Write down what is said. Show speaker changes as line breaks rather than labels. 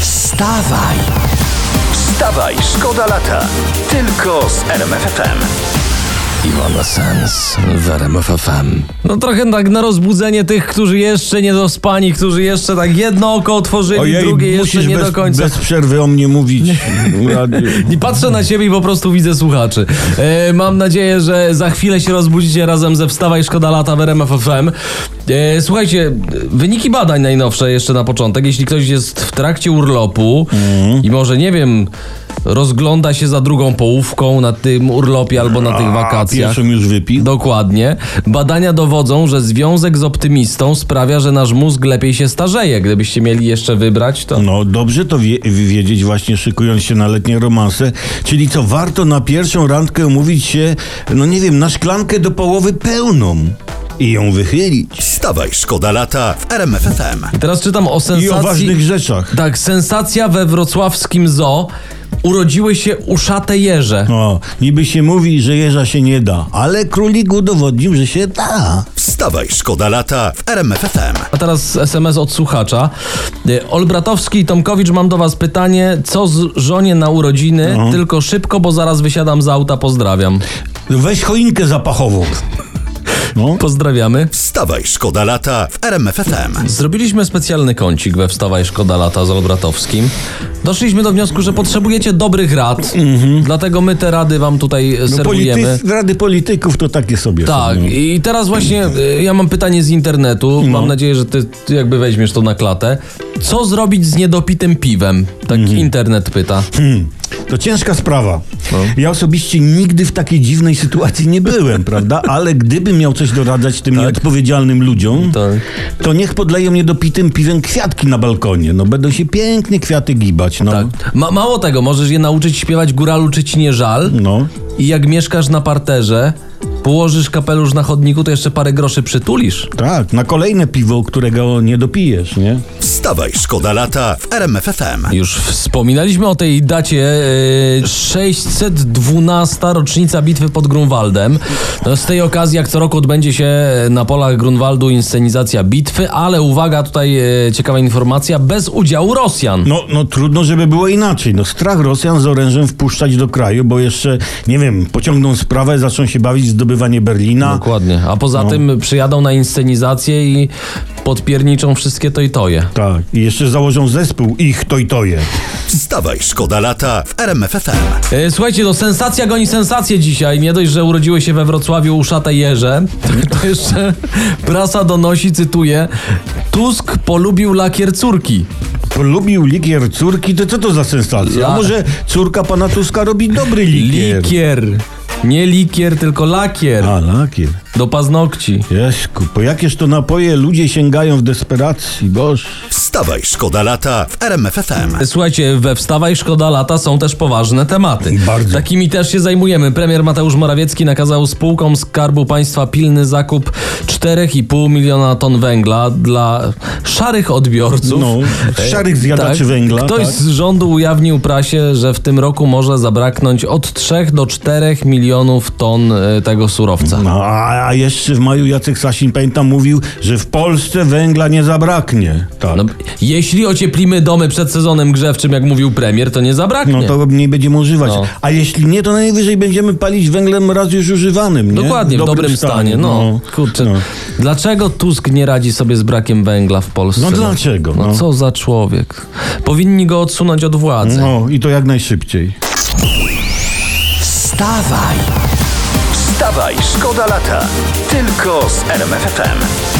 Wstawaj! Wstawaj, szkoda lata. Tylko z RMFFM.
Iwona Sens w RMF FM.
No trochę tak na rozbudzenie tych, którzy jeszcze nie dospani, którzy jeszcze tak jedno oko otworzyli, drugie jeszcze
musisz
nie
bez,
do końca.
bez przerwy o mnie mówić. Radio.
I patrzę na ciebie i po prostu widzę słuchaczy. E, mam nadzieję, że za chwilę się rozbudzicie razem ze Wstawaj Szkoda Lata w RMF FM. E, słuchajcie, wyniki badań najnowsze jeszcze na początek. Jeśli ktoś jest w trakcie urlopu
Mhm.
i może, nie wiem, rozgląda się za drugą połówką na tym urlopie albo na tych
A
wakacjach.
pierwszą już wypił.
Dokładnie. Badania dowodzą, że związek z optymistą sprawia, że nasz mózg lepiej się starzeje. Gdybyście mieli jeszcze wybrać, to.
No dobrze to wie, wiedzieć właśnie szykując się na letnie romanse. Czyli co, warto na pierwszą randkę umówić się, no nie wiem, na szklankę do połowy pełną i ją wychylić.
Wstawaj, szkoda lata w RMFFM.
Teraz czytam o sensacji.
I o ważnych rzeczach.
Tak, sensacja we wrocławskim zoo. Urodziły się uszate jeże.
No, niby się mówi, że jeża się nie da, ale królik udowodnił, że się da.
Wstawaj, szkoda lata w RMFFM.
A teraz SMS od słuchacza. Y, Olbratowski i Tomkowicz, mam do was pytanie. Co z żonie na urodziny?
No.
Tylko szybko, bo zaraz wysiadam z auta. Pozdrawiam.
Weź choinkę zapachową. No.
Pozdrawiamy.
Wstawaj, szkoda lata w RMFFM.
Zrobiliśmy specjalny kącik we Wstawaj Szkoda Lata z Olbratowskim. Doszliśmy do wniosku, że potrzebujecie dobrych rad, dlatego my te rady wam tutaj e, serwujemy.
Mhm. No, Politycy- rady polityków to takie sobie.
Tak,
są, no.
i teraz właśnie e, ja mam pytanie z internetu. Mam nadzieję, że ty, ty jakby weźmiesz to na klatę. Co zrobić z niedopitym piwem? Tak
Mhm.
internet pyta.
To ciężka sprawa. Ja osobiście nigdy w takiej dziwnej sytuacji nie byłem, prawda? Ale gdybym miał coś doradzać tym nieodpowiedzialnym ludziom,
Tak.
to niech podleją niedopitym piwem kwiatki na balkonie. No będą się pięknie kwiaty gibać. No.
Tak. Ma, mało tego, możesz je nauczyć śpiewać góralu czy ci nie żal.
No.
I jak mieszkasz na parterze, położysz kapelusz na chodniku, to jeszcze parę groszy przytulisz.
Tak, na kolejne piwo, którego nie dopijesz, nie?
Wstawaj, szkoda lata w RMFFM.
Już wspominaliśmy o tej dacie yy, 612 rocznica bitwy pod Grunwaldem. No, z tej okazji jak co roku odbędzie się na polach Grunwaldu inscenizacja bitwy, ale uwaga, tutaj yy, ciekawa informacja, bez udziału Rosjan.
No, no trudno, żeby było inaczej. No strach Rosjan z orężem wpuszczać do kraju, bo jeszcze, nie wiem, pociągną sprawę, zaczną się bawić w zdobywanie Berlina.
Dokładnie. A poza tym przyjadą na inscenizację i podpierniczą wszystkie to i toje.
Tak, i jeszcze założą zespół ich to i to je.
Wstawaj, szkoda lata w RMFFM.
E, Słuchajcie, no sensacja goni sensację dzisiaj. Nie dość, że urodziły się we Wrocławiu uszate jeże, to, to jeszcze prasa donosi, cytuję, Tusk polubił lakier córki.
Polubił likier córki, to co to za sensacja?
Ja-
A może córka pana Tuska robi dobry likier?
Likier. Nie likier, tylko lakier
A, lakier.
do paznokci.
Jaśku, po jakież to napoje ludzie sięgają w desperacji, boż.
Wstawaj, szkoda lata w RMFFM.
E, Słuchajcie, we Wstawaj Szkoda Lata są też poważne tematy.
Bardzo.
Takimi też się zajmujemy. Premier Mateusz Morawiecki nakazał spółkom Skarbu Państwa pilny zakup 4,5 miliona ton węgla dla szarych odbiorców.
No, szarych zjadaczy
Tak.
węgla.
Ktoś
tak?
z rządu ujawnił prasie, że w tym roku może zabraknąć od 3 do 4 milionów ton e, tego surowca.
No, a, a jeszcze w maju Jacek Sasin, pamiętam, mówił, że w Polsce węgla nie zabraknie. Tak.
No,
No,
jeśli ocieplimy domy przed sezonem grzewczym, jak mówił premier, to nie zabraknie.
No, to mniej będziemy używać.
No.
A jeśli nie, to najwyżej będziemy palić węglem raz już używanym. Nie?
Dokładnie, w dobrym, stanie. No, kurczę.
no.
Dlaczego Tusk nie radzi sobie z brakiem węgla w Polsce?
No dlaczego,
No,
no?
co za człowiek. Powinni go odsunąć od władzy.
no i to jak najszybciej.
Wstawaj! Wstawaj, szkoda lata! Tylko z RMFFM.